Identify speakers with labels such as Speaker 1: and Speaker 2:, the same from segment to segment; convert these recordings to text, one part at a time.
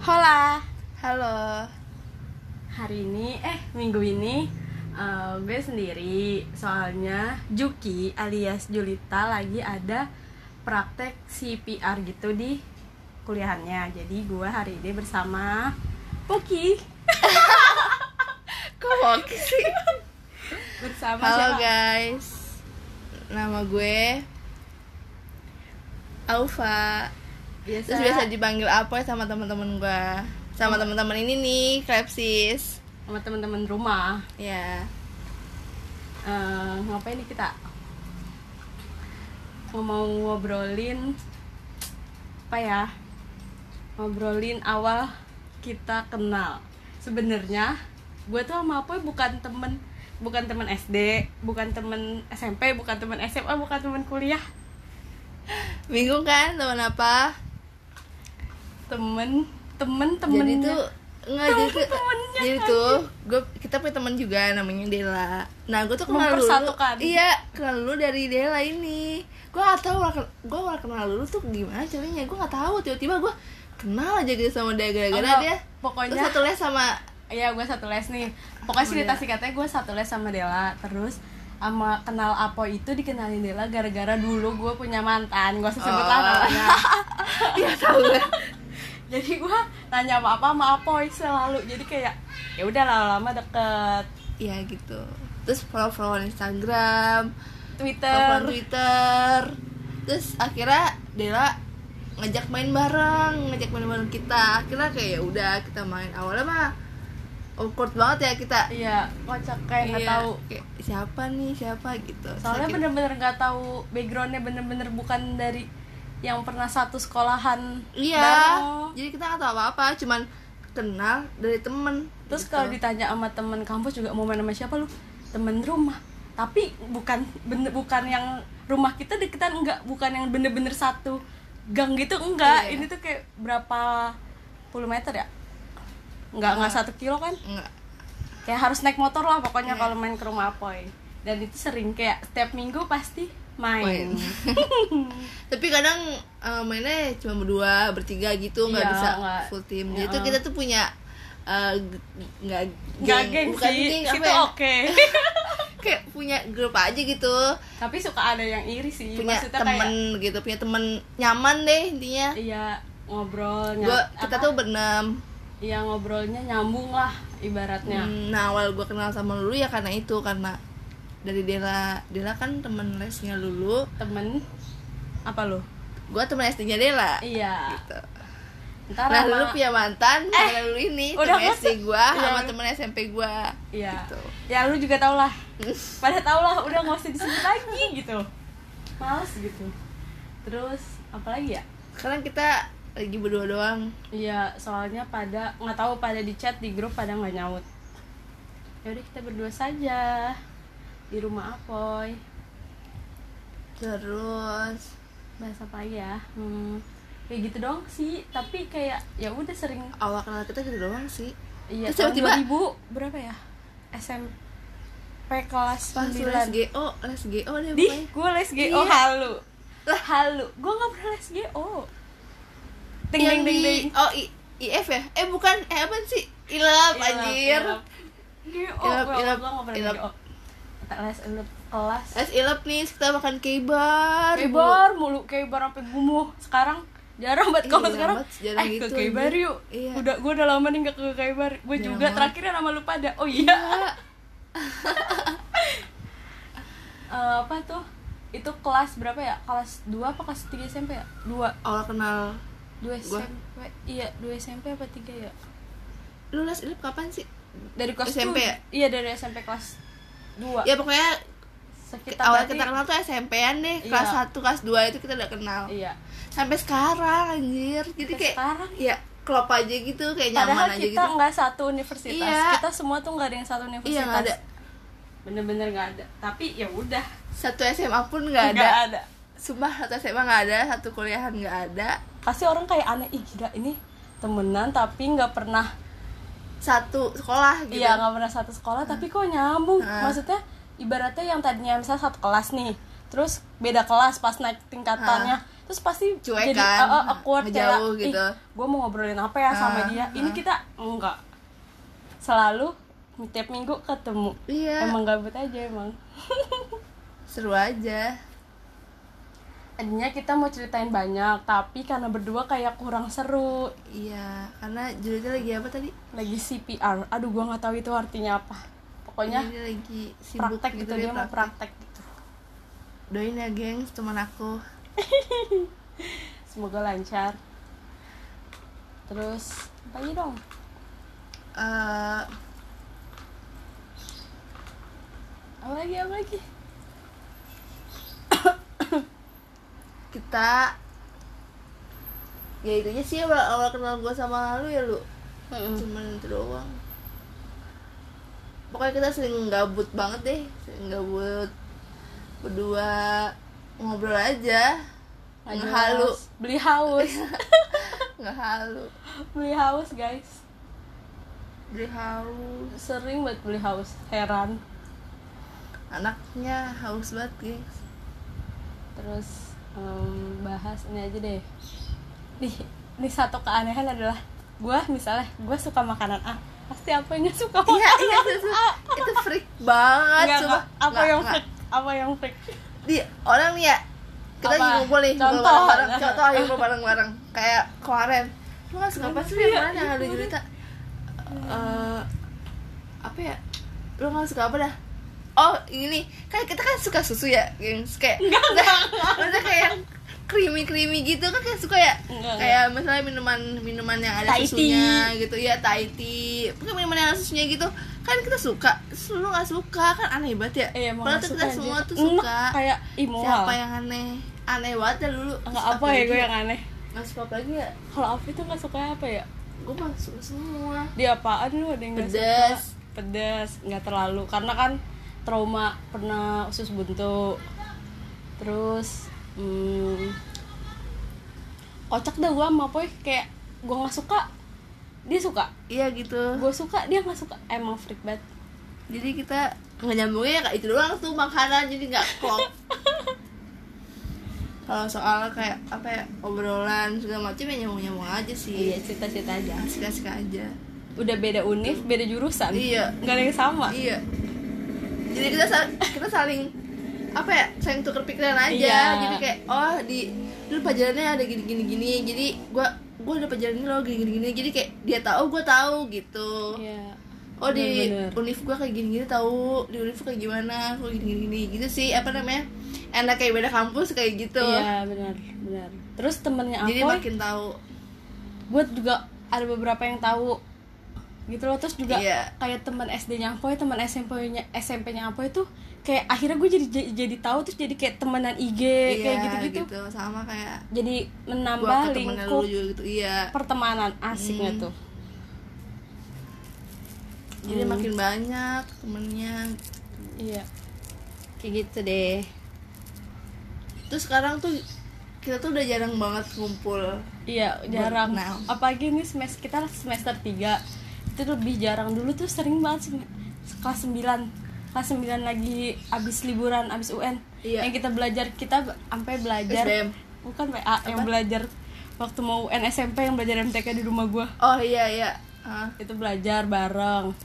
Speaker 1: Hola, halo.
Speaker 2: Hari ini, eh minggu ini eh, gue sendiri Soalnya Juki alias Julita lagi ada praktek CPR gitu di kuliahannya Jadi gue hari ini bersama Poki
Speaker 1: Kok Poki sih?
Speaker 2: Bersama
Speaker 1: Halo
Speaker 2: siapa?
Speaker 1: guys, nama gue Aufa.
Speaker 2: Biasa,
Speaker 1: Terus biasa Iya. dipanggil Apoy sama teman-teman gue. Sama teman-teman ini nih, Klepsis.
Speaker 2: sama teman-teman rumah
Speaker 1: Ya,
Speaker 2: Eh, Ngapain nih kita? Mau ngobrolin Apa ya? Ngobrolin awal kita kenal sebenarnya gue tuh sama Apoy bukan temen bukan temen SD, bukan temen SMP, bukan temen SMA, bukan temen kuliah
Speaker 1: bingung kan teman apa?
Speaker 2: temen temen temen
Speaker 1: Jadi tuh nggak jadi tuh,
Speaker 2: Temen-temennya
Speaker 1: jadi tuh gue kita punya teman juga namanya Dela. Nah gue tuh kenal dulu,
Speaker 2: Mempersatukan.
Speaker 1: iya kenal dulu dari Dela ini. Gue gak tahu gue gak kenal dulu tuh gimana caranya. Gue gak tahu tiba-tiba gue kenal aja gitu sama dia gara-gara
Speaker 2: Enggak,
Speaker 1: dia.
Speaker 2: pokoknya-
Speaker 1: Terus satu les sama
Speaker 2: Iya gue satu les nih Pokoknya
Speaker 1: Sama
Speaker 2: cerita
Speaker 1: Dela.
Speaker 2: singkatnya gue satu les sama Dela Terus sama kenal Apo itu dikenalin Dela gara-gara dulu gue punya mantan Gue sebut lah
Speaker 1: Oh.
Speaker 2: namanya
Speaker 1: Iya tahu gue.
Speaker 2: Jadi gue nanya sama apa sama Apoy selalu Jadi kayak ya udah lama-lama deket
Speaker 1: Iya gitu. Terus follow-followan Instagram,
Speaker 2: Twitter
Speaker 1: follow Twitter. Terus akhirnya Dela ngajak main bareng, ngajak main bareng kita. Akhirnya kayak ya udah kita main. Awalnya mah awkward banget ya kita.
Speaker 2: Iya kocak kayak nggak
Speaker 1: Iya,
Speaker 2: tahu
Speaker 1: kayak, siapa nih, siapa gitu. Terus
Speaker 2: Soalnya
Speaker 1: akhirnya-
Speaker 2: bener-bener nggak tahu backgroundnya bener-bener bukan dari yang pernah satu sekolahan
Speaker 1: Iya.
Speaker 2: bareng.
Speaker 1: Jadi kita nggak tahu apa-apa, cuman kenal dari temen
Speaker 2: Terus
Speaker 1: gitu.
Speaker 2: kalau ditanya sama temen kampus juga mau main sama siapa lu? Temen rumah. Tapi bukan bener, bukan yang rumah kita deketan enggak, bukan yang bener-bener satu gang gitu enggak.
Speaker 1: Iya.
Speaker 2: Ini tuh kayak berapa puluh meter ya? Enggak enggak satu kilo kan?
Speaker 1: Nggak.
Speaker 2: Kayak harus naik motor lah pokoknya
Speaker 1: Iya.
Speaker 2: kalau main ke rumah Apoy. Dan itu sering kayak setiap minggu pasti
Speaker 1: Main.
Speaker 2: main.
Speaker 1: tapi kadang eh, mainnya cuma berdua bertiga gitu nggak
Speaker 2: Iya,
Speaker 1: bisa
Speaker 2: nggak.
Speaker 1: full team
Speaker 2: Iya.
Speaker 1: jadi tuh kita tuh punya eh, g- nggak
Speaker 2: Enggak geng
Speaker 1: bukan
Speaker 2: sih,
Speaker 1: geng, apa
Speaker 2: itu
Speaker 1: ya?
Speaker 2: oke.
Speaker 1: kayak punya grup aja gitu
Speaker 2: Tapi suka ada yang iri sih.
Speaker 1: punya
Speaker 2: Iya, Maksudnya
Speaker 1: temen
Speaker 2: kayak
Speaker 1: gitu punya temen nyaman deh intinya
Speaker 2: iya ngobrol nyat-
Speaker 1: gua kita
Speaker 2: apa?
Speaker 1: tuh berenam
Speaker 2: Iya ngobrolnya nyambung lah ibaratnya.
Speaker 1: Hmm, nah awal gue kenal sama Lulu ya karena itu karena dari Dela Dela kan temen lesnya Lulu
Speaker 2: Temen apa lu?
Speaker 1: gue temen SD-nya Dela
Speaker 2: Iya.
Speaker 1: gitu. Nah,
Speaker 2: Ntar
Speaker 1: Eh,
Speaker 2: sama-
Speaker 1: Lulu punya mantan, karena Lulu ini
Speaker 2: udah
Speaker 1: temen
Speaker 2: bosen.
Speaker 1: SD gua
Speaker 2: Iya,
Speaker 1: sama
Speaker 2: lu-
Speaker 1: temen SMP gua.
Speaker 2: Iya.
Speaker 1: gitu.
Speaker 2: Ya lu juga tau lah. Pada tau lah udah nggak usah disebut lagi gitu. Males gitu. Terus apalagi ya?
Speaker 1: Sekarang kita lagi berdua doang.
Speaker 2: Iya soalnya pada nggak tahu pada di chat di grup pada nggak nyaut. Ya udah kita berdua saja di rumah Apoy.
Speaker 1: Terus
Speaker 2: Bahasa apa lagi ya? Hmm. Ya gitu dong sih, tapi kayak ya udah sering
Speaker 1: awal kenal kita gitu doang sih.
Speaker 2: Iya,
Speaker 1: Terus
Speaker 2: tahun
Speaker 1: tiba-tiba-
Speaker 2: 2000 berapa ya? SMP kelas
Speaker 1: Pas lu les
Speaker 2: 9
Speaker 1: GO, les GO deh
Speaker 2: Di,
Speaker 1: pokoknya.
Speaker 2: gue les GO
Speaker 1: Iya.
Speaker 2: halu Lah halu, gue gak pernah les GO Ding
Speaker 1: Yang
Speaker 2: ding ding
Speaker 1: di-
Speaker 2: ding
Speaker 1: Oh, I- IF ya? Eh bukan, eh apa sih? Ilap
Speaker 2: Ilap,
Speaker 1: anjir.
Speaker 2: ilap. GO,
Speaker 1: Ilap,
Speaker 2: gue
Speaker 1: ilap,
Speaker 2: gak pernah
Speaker 1: ilap.
Speaker 2: GO Kita Les ilap kelas
Speaker 1: Les ilap nih, terus kita makan keibar.
Speaker 2: Kebar mulu, kebar sampai gumuh Sekarang jarang banget
Speaker 1: Iya,
Speaker 2: kalau
Speaker 1: jarang
Speaker 2: sekarang
Speaker 1: banget, jarang
Speaker 2: eh,
Speaker 1: gitu,
Speaker 2: ke kebar
Speaker 1: anjir.
Speaker 2: yuk
Speaker 1: Iya.
Speaker 2: udah gue udah lama nih gak ke kebar gue
Speaker 1: Jarang
Speaker 2: juga
Speaker 1: banget.
Speaker 2: terakhirnya nama lu pada oh iya
Speaker 1: Ah,
Speaker 2: Eh, apa tuh itu kelas berapa ya kelas 2 apa kelas 3 SMP ya 2
Speaker 1: Awal kenal
Speaker 2: 2
Speaker 1: Gua.
Speaker 2: SMP iya 2 SMP apa 3 ya
Speaker 1: lu les ilap kapan sih?
Speaker 2: dari kelas
Speaker 1: SMP
Speaker 2: tuh-
Speaker 1: ya?
Speaker 2: iya dari SMP kelas 2
Speaker 1: Ya pokoknya
Speaker 2: sekitar
Speaker 1: awal
Speaker 2: berarti-
Speaker 1: kita kenal tuh SMP-an deh,
Speaker 2: Iya.
Speaker 1: kelas 1, kelas 2 itu kita udah kenal.
Speaker 2: iya
Speaker 1: sampai sekarang anjir jadi
Speaker 2: Sampai
Speaker 1: kayak
Speaker 2: sekarang.
Speaker 1: ya klop aja gitu kayak nyaman
Speaker 2: padahal
Speaker 1: aja
Speaker 2: kita
Speaker 1: gitu
Speaker 2: nggak satu universitas
Speaker 1: Iya.
Speaker 2: kita semua tuh nggak ada yang satu universitas
Speaker 1: iya nggak ada
Speaker 2: bener-bener nggak ada tapi ya udah
Speaker 1: satu SMA pun nggak ada
Speaker 2: Nggak ada
Speaker 1: sumpah satu SMA nggak ada satu kuliahan nggak ada
Speaker 2: pasti orang kayak aneh ih gila ini temenan tapi nggak pernah
Speaker 1: satu sekolah gitu Ah.
Speaker 2: iya nggak pernah satu sekolah tapi kok nyambung
Speaker 1: Hmm.
Speaker 2: maksudnya ibaratnya yang tadinya misalnya satu kelas nih terus beda kelas pas naik tingkatannya terus pasti
Speaker 1: Ah. Cuek
Speaker 2: jadi
Speaker 1: kan,
Speaker 2: eh, eh, awkward
Speaker 1: ngejauh
Speaker 2: kayak,
Speaker 1: gitu.
Speaker 2: gue mau ngobrolin apa ya sama
Speaker 1: Ah,
Speaker 2: dia
Speaker 1: ah.
Speaker 2: ini kita enggak selalu tiap minggu ketemu
Speaker 1: Iya.
Speaker 2: emang gabut aja emang
Speaker 1: seru aja
Speaker 2: Tadinya kita mau ceritain banyak, tapi karena berdua kayak kurang seru.
Speaker 1: iya karena judulnya lagi apa tadi
Speaker 2: Lagi CPR. Aduh, gua nggak tahu itu artinya apa. Pokoknya
Speaker 1: Ini lagi Iya, sibuk
Speaker 2: praktek gitu, dia mau praktek gitu.
Speaker 1: doain ya gengs teman aku
Speaker 2: Semoga lancar. Terus, apa lagi dong?
Speaker 1: Eh,
Speaker 2: Apa lagi, apa lagi?
Speaker 1: kita ya itu aja sih awal, awal kenal gue sama lu ya lu
Speaker 2: Hmm.
Speaker 1: cuman itu doang pokoknya kita sering gabut banget deh sering gabut berdua ngobrol aja nggak
Speaker 2: Nggak jelas.
Speaker 1: halu
Speaker 2: Beli haus.
Speaker 1: nggak halu
Speaker 2: beli haus, guys.
Speaker 1: beli haus
Speaker 2: Sering banget beli haus. Heran.
Speaker 1: anaknya haus banget gengs
Speaker 2: Terus, em, bahas ini aja deh. Nih, nih satu keanehan adalah gua misalnya gua suka makanan A pasti apa yang suka
Speaker 1: iya
Speaker 2: makanan
Speaker 1: iya itu, itu, itu freak banget
Speaker 2: Enggak,
Speaker 1: cuma
Speaker 2: enggak. apa yang fake apa yang fake
Speaker 1: di orang nih ya kita
Speaker 2: Apa?
Speaker 1: lagi ngumpul nih ngumpul
Speaker 2: Contoh.
Speaker 1: bareng contoh ayo ngumpul bareng bareng kayak kemarin lu nggak suka apa sih yang
Speaker 2: Iya,
Speaker 1: mana ada cerita Eh, apa ya lu nggak suka apa dah oh ini nih kan kita kan suka susu ya gengs kayak maksudnya kayak yang creamy creamy gitu kan kayak suka ya
Speaker 2: Enggak,
Speaker 1: kayak misalnya minuman minuman yang ada
Speaker 2: Thai
Speaker 1: susunya gitu ya Thai tea Pokoknya minuman yang ada susunya gitu kan kita suka terus lu nggak suka kan aneh banget ya
Speaker 2: iya mau
Speaker 1: padahal tuh kita semua tuh suka
Speaker 2: kayak ih mual
Speaker 1: siapa yang aneh aneh banget ya dulu
Speaker 2: enggak apa ya gue yang aneh
Speaker 1: nggak suka apa lagi ya
Speaker 2: kalau Afi tuh nggak suka apa ya
Speaker 1: gue mah suka semua
Speaker 2: dia apaan lu ada yang nggak
Speaker 1: Pedes.
Speaker 2: suka pedes nggak terlalu karena kan trauma pernah usus buntu terus hmm, kocak dah gue sama Poy kayak gue nggak suka dia suka
Speaker 1: iya gitu
Speaker 2: gue suka dia nggak suka emang freak banget
Speaker 1: jadi kita nggak nyambungnya ya kayak itu doang tuh makanan jadi nggak klop kalau soal kayak apa ya obrolan segala macam ya nyambung nyambung aja
Speaker 2: iya
Speaker 1: sih
Speaker 2: cerita-cerita aja
Speaker 1: asik asik aja
Speaker 2: udah beda univ beda jurusan
Speaker 1: Iya.
Speaker 2: nggak ada yang sama
Speaker 1: iya jadi kita sa- kita saling apa ya saling tuker pikiran aja
Speaker 2: Iya.
Speaker 1: jadi kayak oh di dulu pelajarannya ada gini gini gini jadi gua gua ada pelajarannya loh gini gini gini jadi kayak dia tahu gua tahu gitu
Speaker 2: Iya.
Speaker 1: oh di
Speaker 2: Bener-bener.
Speaker 1: univ gua kayak gini gini tahu di univ kayak gimana gua gini gini, gini gitu sih apa namanya enak kayak beda kampus kayak gitu
Speaker 2: iya benar benar terus temennya
Speaker 1: jadi
Speaker 2: aku
Speaker 1: makin tahu
Speaker 2: gue juga ada beberapa yang tahu gitu loh terus juga
Speaker 1: Iya.
Speaker 2: kayak teman SD-nya Apoy, teman SMP-nya SMP-nya Apoy tuh kayak akhirnya gue jadi jadi, jadi tahu terus jadi kayak temenan IG
Speaker 1: iya
Speaker 2: kayak gitu-gitu.
Speaker 1: sama kayak
Speaker 2: Jadi
Speaker 1: gua
Speaker 2: menambah
Speaker 1: ke temennya dulu juga
Speaker 2: lingkup
Speaker 1: Hmm. gitu iya
Speaker 2: pertemanan gitu. asiknya tuh.
Speaker 1: jadi
Speaker 2: Hmm.
Speaker 1: makin banyak temennya
Speaker 2: Iya. Kayak gitu deh.
Speaker 1: terus sekarang tuh kita tuh udah jarang banget ngumpul
Speaker 2: Iya, jarang.
Speaker 1: now.
Speaker 2: Apalagi ini semester kita semester 3. Itu lebih jarang dulu tuh sering banget sem- kelas 9. Kelas 9 lagi abis liburan, abis UN.
Speaker 1: Iya.
Speaker 2: Yang kita belajar kita b- sampai belajar
Speaker 1: SBM.
Speaker 2: bukan PA yang belajar waktu mau UN SMP yang belajar MTK di rumah gua.
Speaker 1: oh iya iya Hah?
Speaker 2: Itu belajar bareng.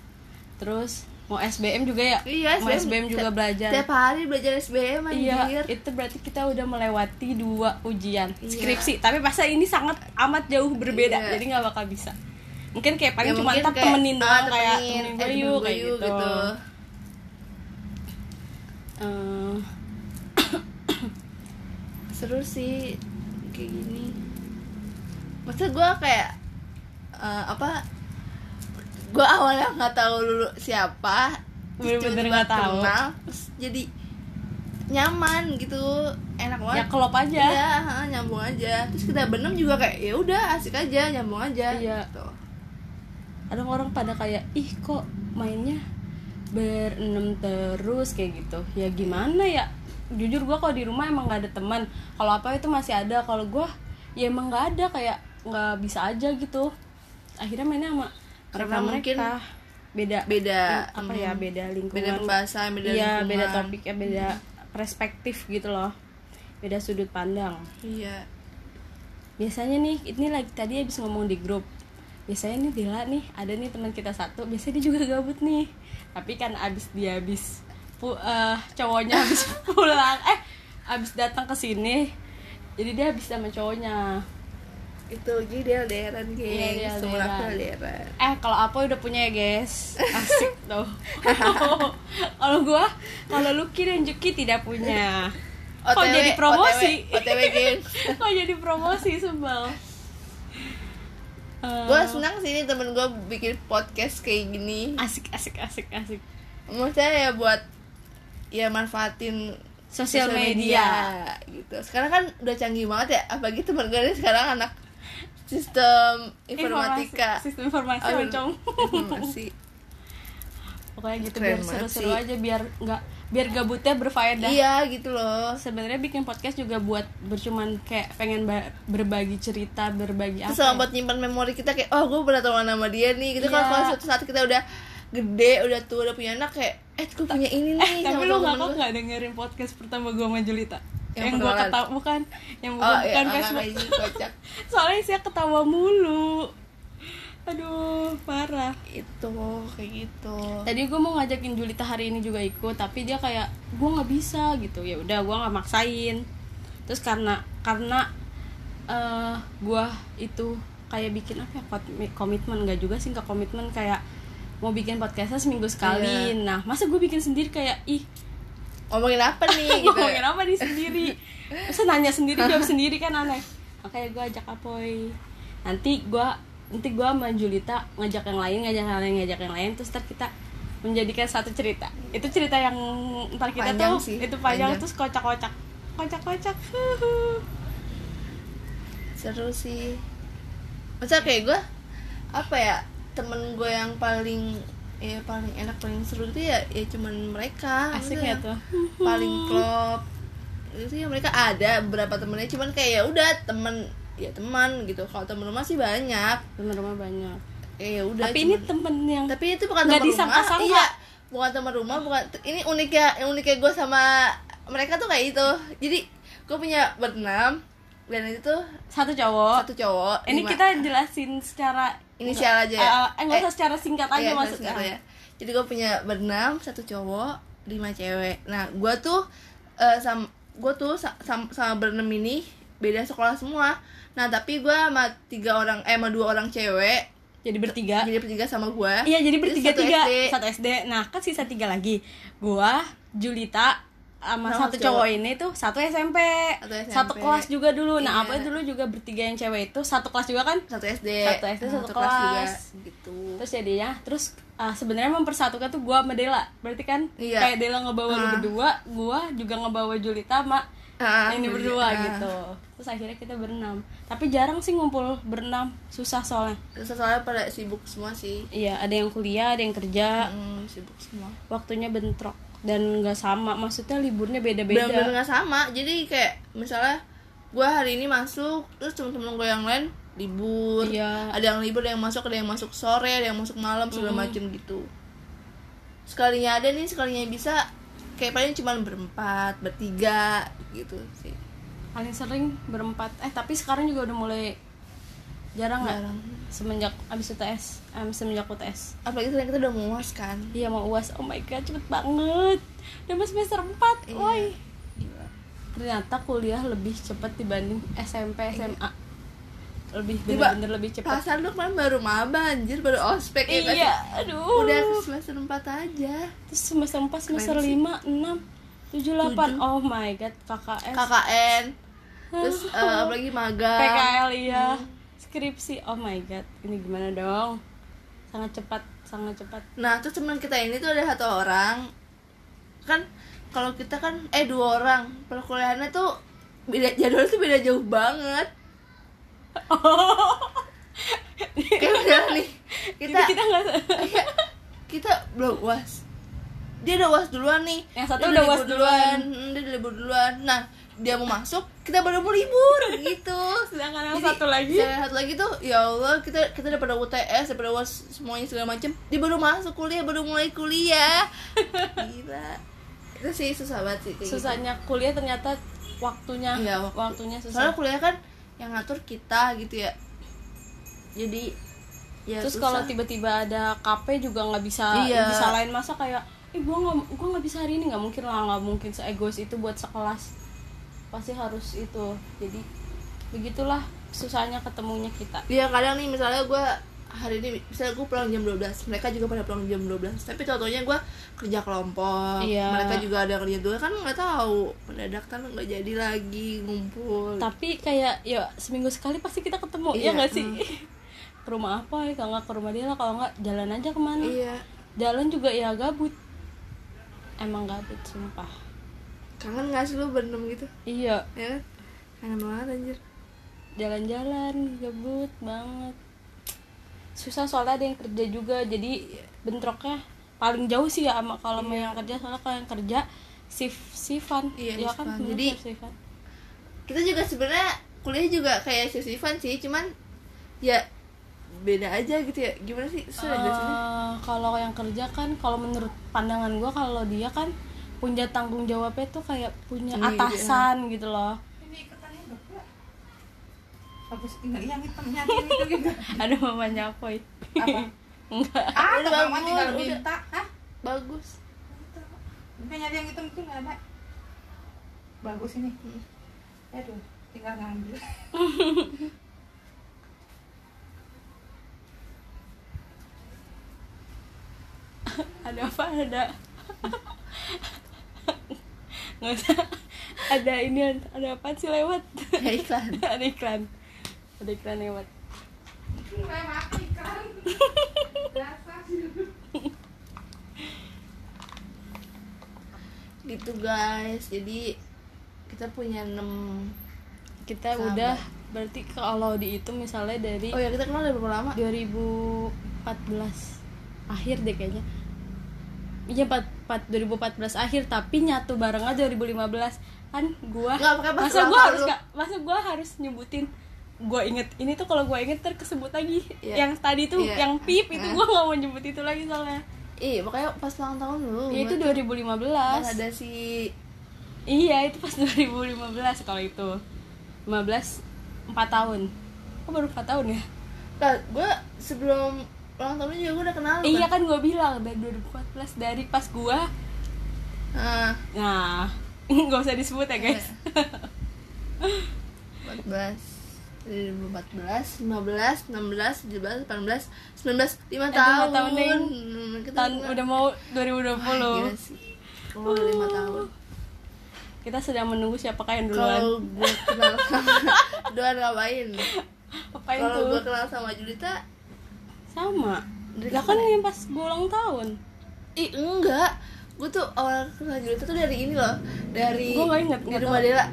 Speaker 2: Terus mau SBM juga ya?
Speaker 1: iya
Speaker 2: Mau SBM juga
Speaker 1: Tiap-
Speaker 2: belajar.
Speaker 1: tiap hari belajar SBM
Speaker 2: Iya,
Speaker 1: anjir
Speaker 2: itu berarti kita udah melewati dua ujian
Speaker 1: Iya.
Speaker 2: skripsi. Tapi masa ini sangat amat jauh berbeda,
Speaker 1: Iya.
Speaker 2: jadi nggak bakal bisa. Mungkin kayak paling
Speaker 1: Ya,
Speaker 2: cuma
Speaker 1: mungkin
Speaker 2: tetap
Speaker 1: kayak,
Speaker 2: temenin
Speaker 1: ah,
Speaker 2: doang kayak
Speaker 1: temenin, eh,
Speaker 2: temenin gue
Speaker 1: temenin
Speaker 2: yuk
Speaker 1: gue
Speaker 2: kayak
Speaker 1: yuk,
Speaker 2: gitu. Eh,
Speaker 1: seru sih kayak gini maksud gue kayak eh, apa gue awalnya nggak tahu dulu siapa terus
Speaker 2: Bener-bener
Speaker 1: tiba-tiba
Speaker 2: nggak tahu.
Speaker 1: kenal, terus jadi nyaman gitu enak banget
Speaker 2: ya kelop aja.
Speaker 1: Iya, heeh, nyambung aja. Terus kita benem juga kayak ya udah asik aja, nyambung aja.
Speaker 2: Iya.
Speaker 1: Gitu.
Speaker 2: Ada orang pada kayak ih kok mainnya berenam terus kayak gitu. Ya gimana ya? Jujur gua kalau di rumah emang nggak ada teman. Kalau apa itu masih ada. Kalau gua ya emang nggak ada kayak nggak bisa aja gitu. Akhirnya mainnya sama
Speaker 1: Karena mungkin
Speaker 2: mereka-mereka. beda
Speaker 1: Beda
Speaker 2: apa ya beda lingkungan
Speaker 1: beda pembahasan, beda
Speaker 2: iya
Speaker 1: lingkungan. Hmm.
Speaker 2: beda topiknya beda perspektif gitu loh beda sudut pandang
Speaker 1: iya
Speaker 2: biasanya nih ini lagi tadi habis ngomong di grup biasanya nih Dila nih ada nih teman kita satu biasanya dia juga gabut nih tapi kan abis dia abis pu- eh, cowoknya abis pulang eh abis datang ke sini jadi dia habis sama cowoknya
Speaker 1: itu jadi dia LDRan
Speaker 2: Iya, dia
Speaker 1: gengs semua aku
Speaker 2: LDRan.
Speaker 1: LDRan
Speaker 2: eh kalau apa udah punya ya guys asik tuh kalau gua kalau Lucky dan Juki tidak punya kok
Speaker 1: OTW,
Speaker 2: jadi promosi
Speaker 1: OTW, OTW gengs
Speaker 2: kok jadi promosi sebel Eh,
Speaker 1: gue senang sih nih temen gue bikin podcast kayak gini
Speaker 2: asik asik asik asik
Speaker 1: maksudnya ya buat ya manfaatin
Speaker 2: Sosial
Speaker 1: sosial
Speaker 2: media.
Speaker 1: gitu sekarang kan udah canggih banget ya apalagi temen gue ini sekarang anak sistem informatika
Speaker 2: Informasi- sistem informasi
Speaker 1: Aduh,
Speaker 2: oncom
Speaker 1: informasi
Speaker 2: pokoknya gitu
Speaker 1: Keren
Speaker 2: biar
Speaker 1: banget
Speaker 2: seru-seru
Speaker 1: sih.
Speaker 2: aja biar nggak biar gabutnya berfaedah
Speaker 1: iya gitu loh
Speaker 2: sebenarnya bikin podcast juga buat bercuman kayak pengen ba- berbagi cerita berbagi
Speaker 1: terus
Speaker 2: Ya, apa
Speaker 1: sama buat nyimpan memori kita kayak oh gue pernah teman sama dia nih gitu kan
Speaker 2: Iya.
Speaker 1: kalau suatu saat kita udah gede udah tua udah punya anak kayak eh gue punya ini nih
Speaker 2: tapi lu ngapa nggak dengerin podcast pertama gua sama Julita
Speaker 1: Yang
Speaker 2: yang, gua
Speaker 1: perkenalan.
Speaker 2: ketawa bukan yang bukan,
Speaker 1: oh iya
Speaker 2: bukan
Speaker 1: orang
Speaker 2: Facebook
Speaker 1: kayak gini, kocak
Speaker 2: soalnya saya ketawa mulu aduh parah
Speaker 1: itu kayak gitu
Speaker 2: tadi gue mau ngajakin Julita hari ini juga ikut tapi dia kayak gue nggak bisa gitu ya udah gue nggak maksain terus karena karena eh gue itu kayak bikin apa ya kot- komitmen nggak juga sih nggak komitmen kayak mau bikin podcastnya seminggu sekali nah masa gue bikin sendiri kayak ih
Speaker 1: ngomongin apa nih gitu
Speaker 2: ngomongin apa nih sendiri Terus nanya sendiri jawab sendiri kan aneh makanya gue ajak apoy nanti gue nanti gue sama Julita ngajak yang lain ngajak yang lain ngajak yang lain terus ntar kita menjadikan satu cerita itu cerita yang ntar kita
Speaker 1: Panjang
Speaker 2: tuh
Speaker 1: sih,
Speaker 2: itu panjang,
Speaker 1: panjang.
Speaker 2: terus kocak kocak kocak kocak
Speaker 1: seru sih masa kayak gue apa ya temen gue yang paling ya paling enak paling seru itu ya ya cuman mereka
Speaker 2: asik
Speaker 1: Maksudnya
Speaker 2: ya tuh
Speaker 1: paling klop itu ya mereka ada beberapa temennya cuman kayak ya udah temen ya teman gitu kalau temen rumah sih banyak
Speaker 2: teman rumah banyak
Speaker 1: Eh, ya udah
Speaker 2: tapi ini
Speaker 1: cuman-
Speaker 2: temen yang
Speaker 1: tapi itu bukan
Speaker 2: nggak
Speaker 1: teman rumah
Speaker 2: disangka-sangka.
Speaker 1: iya bukan teman rumah bukan ini uniknya yang uniknya gue sama mereka tuh kayak itu jadi gue punya berenam dan itu tuh
Speaker 2: satu cowok
Speaker 1: satu cowok
Speaker 2: ini
Speaker 1: lima-
Speaker 2: kita jelasin secara
Speaker 1: Inisial aja ya?
Speaker 2: Eh, eh, nggak usah secara singkat aja
Speaker 1: Iya, terus
Speaker 2: maksudnya
Speaker 1: gitu ya. Jadi gue punya berenam, satu cowok, lima cewek. Nah, gue tuh eh sam gue tuh sa- sam- sama berenam ini beda sekolah semua. Nah, tapi gue sama tiga orang eh sama dua orang cewek,
Speaker 2: jadi bertiga
Speaker 1: jadi bertiga sama gue.
Speaker 2: Ya. Iya jadi
Speaker 1: Terus Eh,
Speaker 2: bertiga
Speaker 1: satu
Speaker 2: tiga
Speaker 1: SD.
Speaker 2: satu SD. Nah kan sisa tiga lagi. Gua, Julita, sama
Speaker 1: Sama
Speaker 2: satu
Speaker 1: cowok.
Speaker 2: cowok ini tuh satu SMP,
Speaker 1: Satu SMP.
Speaker 2: satu kelas juga dulu.
Speaker 1: Iya.
Speaker 2: Nah apa dulu juga bertiga yang cewek itu satu kelas juga kan?
Speaker 1: Satu SD.
Speaker 2: Satu SD, satu kelas.
Speaker 1: juga gitu.
Speaker 2: Terus jadinya, terus ah, sebenarnya mempersatukan tuh gua sama Dela. Berarti kan
Speaker 1: Iya.
Speaker 2: kayak Dela ngebawa lu
Speaker 1: Ah.
Speaker 2: berdua, gua juga ngebawa Julita sama
Speaker 1: Ah,
Speaker 2: Nah, ini
Speaker 1: jadi-
Speaker 2: berdua
Speaker 1: ah.
Speaker 2: gitu. Terus akhirnya kita berenam. Tapi jarang sih ngumpul berenam, susah soalnya.
Speaker 1: Terus soalnya pada sibuk semua sih.
Speaker 2: Iya ada yang kuliah, ada yang kerja.
Speaker 1: Mm, sibuk semua.
Speaker 2: waktunya bentrok dan nggak sama maksudnya liburnya
Speaker 1: benar-benar
Speaker 2: beda-beda
Speaker 1: nggak sama jadi kayak misalnya gue hari ini masuk terus temen-temen gue yang lain libur
Speaker 2: Iya.
Speaker 1: ada yang libur ada yang masuk ada yang masuk sore ada yang masuk malam
Speaker 2: Hmm.
Speaker 1: segala macem gitu sekalinya ada nih sekalinya bisa kayak paling cuma berempat bertiga gitu sih
Speaker 2: paling sering berempat eh tapi sekarang juga udah mulai jarang nggak
Speaker 1: Jarang.
Speaker 2: semenjak abis UTS em, semenjak UTS
Speaker 1: apalagi sekarang kita udah muas kan
Speaker 2: iya mau uas oh my god cepet banget udah mau semester 4
Speaker 1: Iya.
Speaker 2: woi
Speaker 1: Gila.
Speaker 2: ternyata kuliah lebih cepet dibanding SMP SMA lebih
Speaker 1: Iya. Tiba, Ah,
Speaker 2: bener-bener lebih cepet
Speaker 1: perasaan lu kemarin baru maba anjir baru ospek ya kan?
Speaker 2: iya aduh
Speaker 1: udah semester 4 aja
Speaker 2: terus semester 4 semester
Speaker 1: Keren sih.
Speaker 2: 5 6 7 8 oh my god KKS
Speaker 1: KKN
Speaker 2: Uh.
Speaker 1: terus eh, apalagi magang
Speaker 2: PKL iya skripsi oh my god ini gimana dong sangat cepat sangat cepat
Speaker 1: Nah, terus teman kita ini tuh ada satu orang. Kan kalau kita kan eh dua orang. Perkuliahannya tuh beda jadwal tuh beda jauh banget. Kayak udah nih. Kita
Speaker 2: Oh. jadi kita nggak
Speaker 1: kayak, kita belum UAS. Dia udah UAS duluan nih.
Speaker 2: Yang satu
Speaker 1: Dia
Speaker 2: udah
Speaker 1: libur
Speaker 2: UAS duluan.
Speaker 1: Hmm, Dia udah libur duluan. Nah, dia mau masuk, kita baru mau libur gitu.
Speaker 2: sedangkan yang
Speaker 1: Jadi,
Speaker 2: satu lagi
Speaker 1: sedangkan satu lagi tuh ya Allah kita kita daripada UTS daripada UAS semuanya segala macem dia baru masuk kuliah baru mulai kuliah gila itu sih susah banget sih kayak
Speaker 2: susahnya kuliah ternyata waktunya
Speaker 1: Iya, waktu.
Speaker 2: waktunya susah
Speaker 1: soalnya kuliah kan yang ngatur kita gitu ya jadi ya
Speaker 2: terus
Speaker 1: susah.
Speaker 2: kalau tiba-tiba ada KP juga nggak bisa
Speaker 1: Iya.
Speaker 2: bisa lain masa kayak eh gue nggak gue nggak bisa hari ini nggak mungkin lah nggak mungkin seegois itu buat sekelas pasti harus itu jadi begitulah susahnya ketemunya kita
Speaker 1: Iya kadang nih misalnya gue hari ini misalnya gue pulang jam 12 mereka juga pada pulang jam 12 tapi contohnya gue kerja kelompok
Speaker 2: Iya.
Speaker 1: mereka juga ada kerja dua kan nggak tahu mendadak kan nggak jadi lagi ngumpul
Speaker 2: tapi kayak ya seminggu sekali pasti kita ketemu
Speaker 1: Iya,
Speaker 2: ya nggak sih ke rumah apa ya kalau nggak ke rumah dia lah kalau nggak jalan aja kemana
Speaker 1: iya
Speaker 2: jalan juga ya gabut emang gabut sumpah
Speaker 1: kangen nggak sih lu berenam gitu
Speaker 2: iya
Speaker 1: ya kan? kangen banget anjir
Speaker 2: jalan-jalan gabut banget susah soalnya ada yang kerja juga jadi bentroknya paling jauh sih ya sama kalau sama yang kerja soalnya kalau yang kerja sif sifan
Speaker 1: Iya,
Speaker 2: ya kan
Speaker 1: sif-sifan.
Speaker 2: bener
Speaker 1: Jadi-
Speaker 2: sif-sifan.
Speaker 1: kita juga sebenarnya kuliah juga kayak sisifan sih cuman ya beda aja gitu ya gimana sih sudah jelasinnya?
Speaker 2: Eh, kalau yang kerja kan kalau menurut pandangan gua kalau dia kan punya tanggung jawabnya tuh kayak punya
Speaker 1: Sendiri,
Speaker 2: atasan gitu loh
Speaker 3: ini ikutannya berapa? Bagus, enggak yang hitamnya itu gitu.
Speaker 2: ada mamanya Apoy
Speaker 3: Apa?
Speaker 2: enggak
Speaker 3: Ah,
Speaker 1: Udah
Speaker 3: teman mama
Speaker 1: bangun,
Speaker 3: tinggal
Speaker 1: udah.
Speaker 3: minta. Hah?
Speaker 1: bagus
Speaker 3: Bukan nyari yang hitam itu enggak ada. Bagus ini. Aduh, tinggal ngambil.
Speaker 2: ada apa ada nggak usah ada ini ada apa sih lewat
Speaker 1: ya iklan
Speaker 2: ada iklan ada iklan lewat
Speaker 3: Mulai mati kan. Dasar.
Speaker 1: gitu guys jadi kita punya 6
Speaker 2: kita
Speaker 1: Sama.
Speaker 2: udah berarti kalau dihitung misalnya dari
Speaker 1: Oh ya kita kenal dari berapa lama?
Speaker 2: 2014 akhir deh kayaknya Iya 4, 2014 akhir tapi nyatu barengnya 2015 kan gua
Speaker 1: Nggak, pakai bahasa
Speaker 2: masa gua
Speaker 1: lokal
Speaker 2: harus
Speaker 1: lu.
Speaker 2: nggak masa gua harus nyebutin gua inget ini tuh kalau gua inget ter kesebut lagi
Speaker 1: Iya.
Speaker 2: yang tadi tuh
Speaker 1: Iya.
Speaker 2: yang pip itu
Speaker 1: Hah?
Speaker 2: gua nggak mau nyebut itu lagi soalnya
Speaker 1: Ih, makanya Iya, pas ulang tahun dulu.
Speaker 2: ya itu
Speaker 1: buat-
Speaker 2: 2015
Speaker 1: pas ada si
Speaker 2: iya itu pas 2015 kalau itu 15 4 tahun kok baru 4 tahun ya
Speaker 1: Nah, gue sebelum ulang tahun juga gue udah kenal lu,
Speaker 2: Iya kan gue bilang dari 2014 dari pas gua
Speaker 1: Ah,
Speaker 2: Nah, nggak usah disebut ya guys.
Speaker 1: Iya, 14 2014, 15, 16, 17, 18, 19, 5
Speaker 2: Eh,
Speaker 1: tahun.
Speaker 2: lima tahun, Neng.
Speaker 1: Hmm, kita Ah,
Speaker 2: Tahun
Speaker 1: kenal.
Speaker 2: udah mau
Speaker 1: Wah, gila
Speaker 2: 2020.
Speaker 1: sih. Gua udah 5 tahun.
Speaker 2: Kita sedang menunggu siapakah yang duluan.
Speaker 1: Kalau gue kenal sama Doan ngapain?
Speaker 2: Apa
Speaker 1: Kalau
Speaker 2: itu?
Speaker 1: gue kenal sama Julita,
Speaker 2: Sama.
Speaker 1: Dari
Speaker 2: Lah kan yang pas gue ulang tahun.
Speaker 1: ih enggak. Gue tuh awal kenal Julita tuh dari ini loh, dari
Speaker 2: Gua nggak ingat,
Speaker 1: di
Speaker 2: nggak
Speaker 1: rumah
Speaker 2: tahu.
Speaker 1: Dela.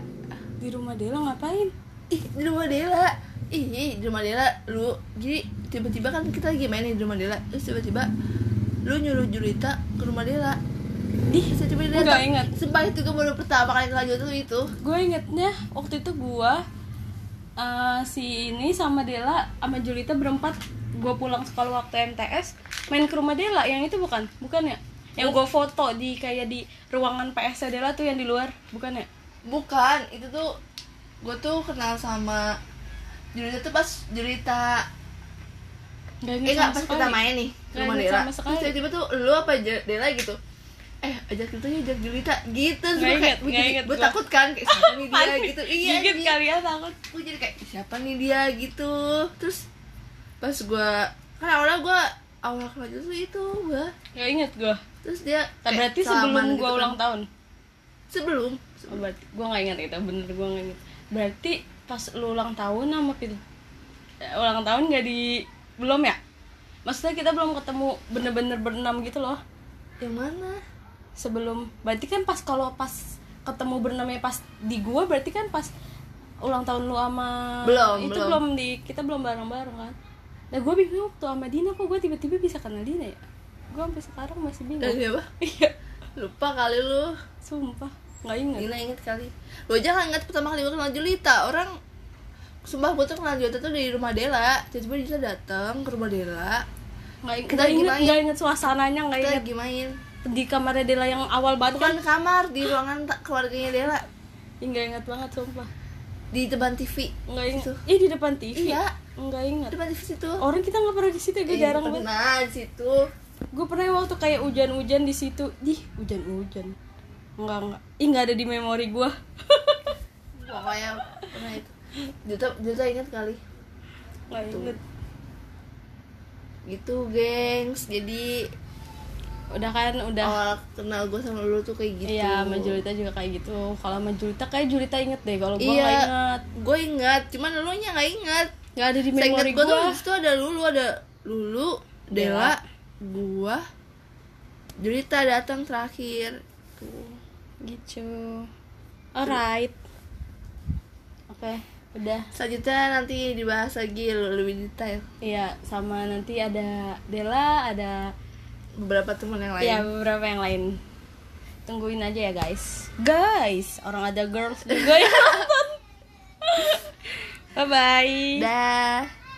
Speaker 2: Di rumah Dela ngapain?
Speaker 1: ih di rumah Dela ih, ih di rumah Dela lu jadi tiba-tiba kan kita lagi main nih di rumah Dela terus tiba-tiba lu nyuruh Julita ke rumah Dela di saya coba
Speaker 2: Gua nggak ingat.
Speaker 1: sumpah itu gue baru pertama kali kenal Julita tuh itu
Speaker 2: Gue ingetnya waktu itu gua eh, si ini sama Dela sama Julita berempat gue pulang sekolah waktu MTS main ke rumah Dela yang itu bukan bukan ya yang gue foto di kayak di ruangan PS Dela tuh yang di luar bukan ya
Speaker 1: bukan itu tuh gue tuh kenal sama Julita tuh pas Julita
Speaker 2: Gak
Speaker 1: eh nggak pas kita main nih ke
Speaker 2: Nggak
Speaker 1: rumah
Speaker 2: ingat
Speaker 1: Dela
Speaker 2: sama
Speaker 1: terus
Speaker 2: sekali.
Speaker 1: tiba-tiba tuh lu apa Ju- Dela gitu eh ajak Julita yuk ajak Julita gitu terus
Speaker 2: Nggak
Speaker 1: gue kayak
Speaker 2: ingat, nggak ingat
Speaker 1: gue
Speaker 2: gua.
Speaker 1: takut kan kayak siapa nih dia gitu iya
Speaker 2: Gigit
Speaker 1: iya.
Speaker 2: kali ya takut
Speaker 1: gue jadi kayak siapa nih dia gitu terus pas gue kan awalnya gue awal kenal Jojo tuh itu gue
Speaker 2: Gak inget gue
Speaker 1: terus dia kayak
Speaker 2: Eh, Berarti
Speaker 1: salaman
Speaker 2: sebelum
Speaker 1: gitu
Speaker 2: gue
Speaker 1: kan.
Speaker 2: ulang tahun
Speaker 1: sebelum
Speaker 2: oh, Berarti gue gak inget itu bener gue gak inget Berarti pas lu ulang tahun sama Pil eh, Ulang tahun gak di Belum ya? Maksudnya kita belum ketemu bener-bener berenam gitu loh
Speaker 1: yang mana
Speaker 2: Sebelum Berarti kan pas kalau pas ketemu berenamnya pas di gua berarti kan pas ulang tahun lu sama
Speaker 1: Belum,
Speaker 2: itu
Speaker 1: belum.
Speaker 2: belum di kita belum bareng-bareng kan nah gue bingung waktu sama Dina kok gue tiba-tiba bisa kenal Dina ya gue sampai sekarang masih bingung
Speaker 1: dari apa
Speaker 2: Iya,
Speaker 1: lupa kali lu
Speaker 2: sumpah nggak inget.
Speaker 1: Dina inget kali lu aja nggak inget pertama kali gue kenal Julita orang sumpah gue tuh kenal Julita tuh di rumah Dela tiba-tiba Julita datang ke rumah Dela
Speaker 2: Nggak inget,
Speaker 1: Kita
Speaker 2: nggak inget,
Speaker 1: gimana?
Speaker 2: nggak inget suasananya, nggak
Speaker 1: kita
Speaker 2: inget
Speaker 1: lagi main
Speaker 2: di kamar Dela yang awal banget kan.
Speaker 1: bukan kamar di ruangan ta- keluarganya Dela
Speaker 2: Ih, nggak ingat banget sumpah
Speaker 1: di depan TV
Speaker 2: nggak ingat
Speaker 1: Situ.
Speaker 2: ih di depan TV
Speaker 1: Iya.
Speaker 2: nggak ingat
Speaker 1: depan TV situ
Speaker 2: orang kita nggak pernah di situ gue
Speaker 1: Ih,
Speaker 2: jarang banget
Speaker 1: pernah Iya, nah, di situ
Speaker 2: gue pernah waktu kayak hujan-hujan di situ di hujan-hujan nggak nggak ih nggak ada di memori gue
Speaker 1: pokoknya pernah itu Juta Juta ingat kali
Speaker 2: nggak
Speaker 1: Tuh.
Speaker 2: inget
Speaker 1: gitu gengs jadi
Speaker 2: udah kan udah
Speaker 1: awal kenal gue sama lu tuh kayak Oh, gitu
Speaker 2: Iya, sama Julita juga kayak gitu. Kalau sama Julita kayak Julita inget deh, kalau gua
Speaker 1: Iya.
Speaker 2: nggak inget.
Speaker 1: gue ingat cuman lu nya nggak ingat
Speaker 2: Nggak ada di
Speaker 1: saya ingat
Speaker 2: memori
Speaker 1: gue tuh
Speaker 2: gua. Iya.
Speaker 1: di situ ada lulu ada lulu
Speaker 2: Dela.
Speaker 1: Dela gua Julita datang terakhir tuh
Speaker 2: Gitu. Alright. Oke, udah.
Speaker 1: selanjutnya nanti dibahas lagi lebih detail
Speaker 2: Iya, sama nanti ada Dela, ada
Speaker 1: beberapa teman yang lain
Speaker 2: ya beberapa yang lain. Tungguin aja ya guys. Guys, orang ada girls juga yang nonton. Bye bye.
Speaker 1: dah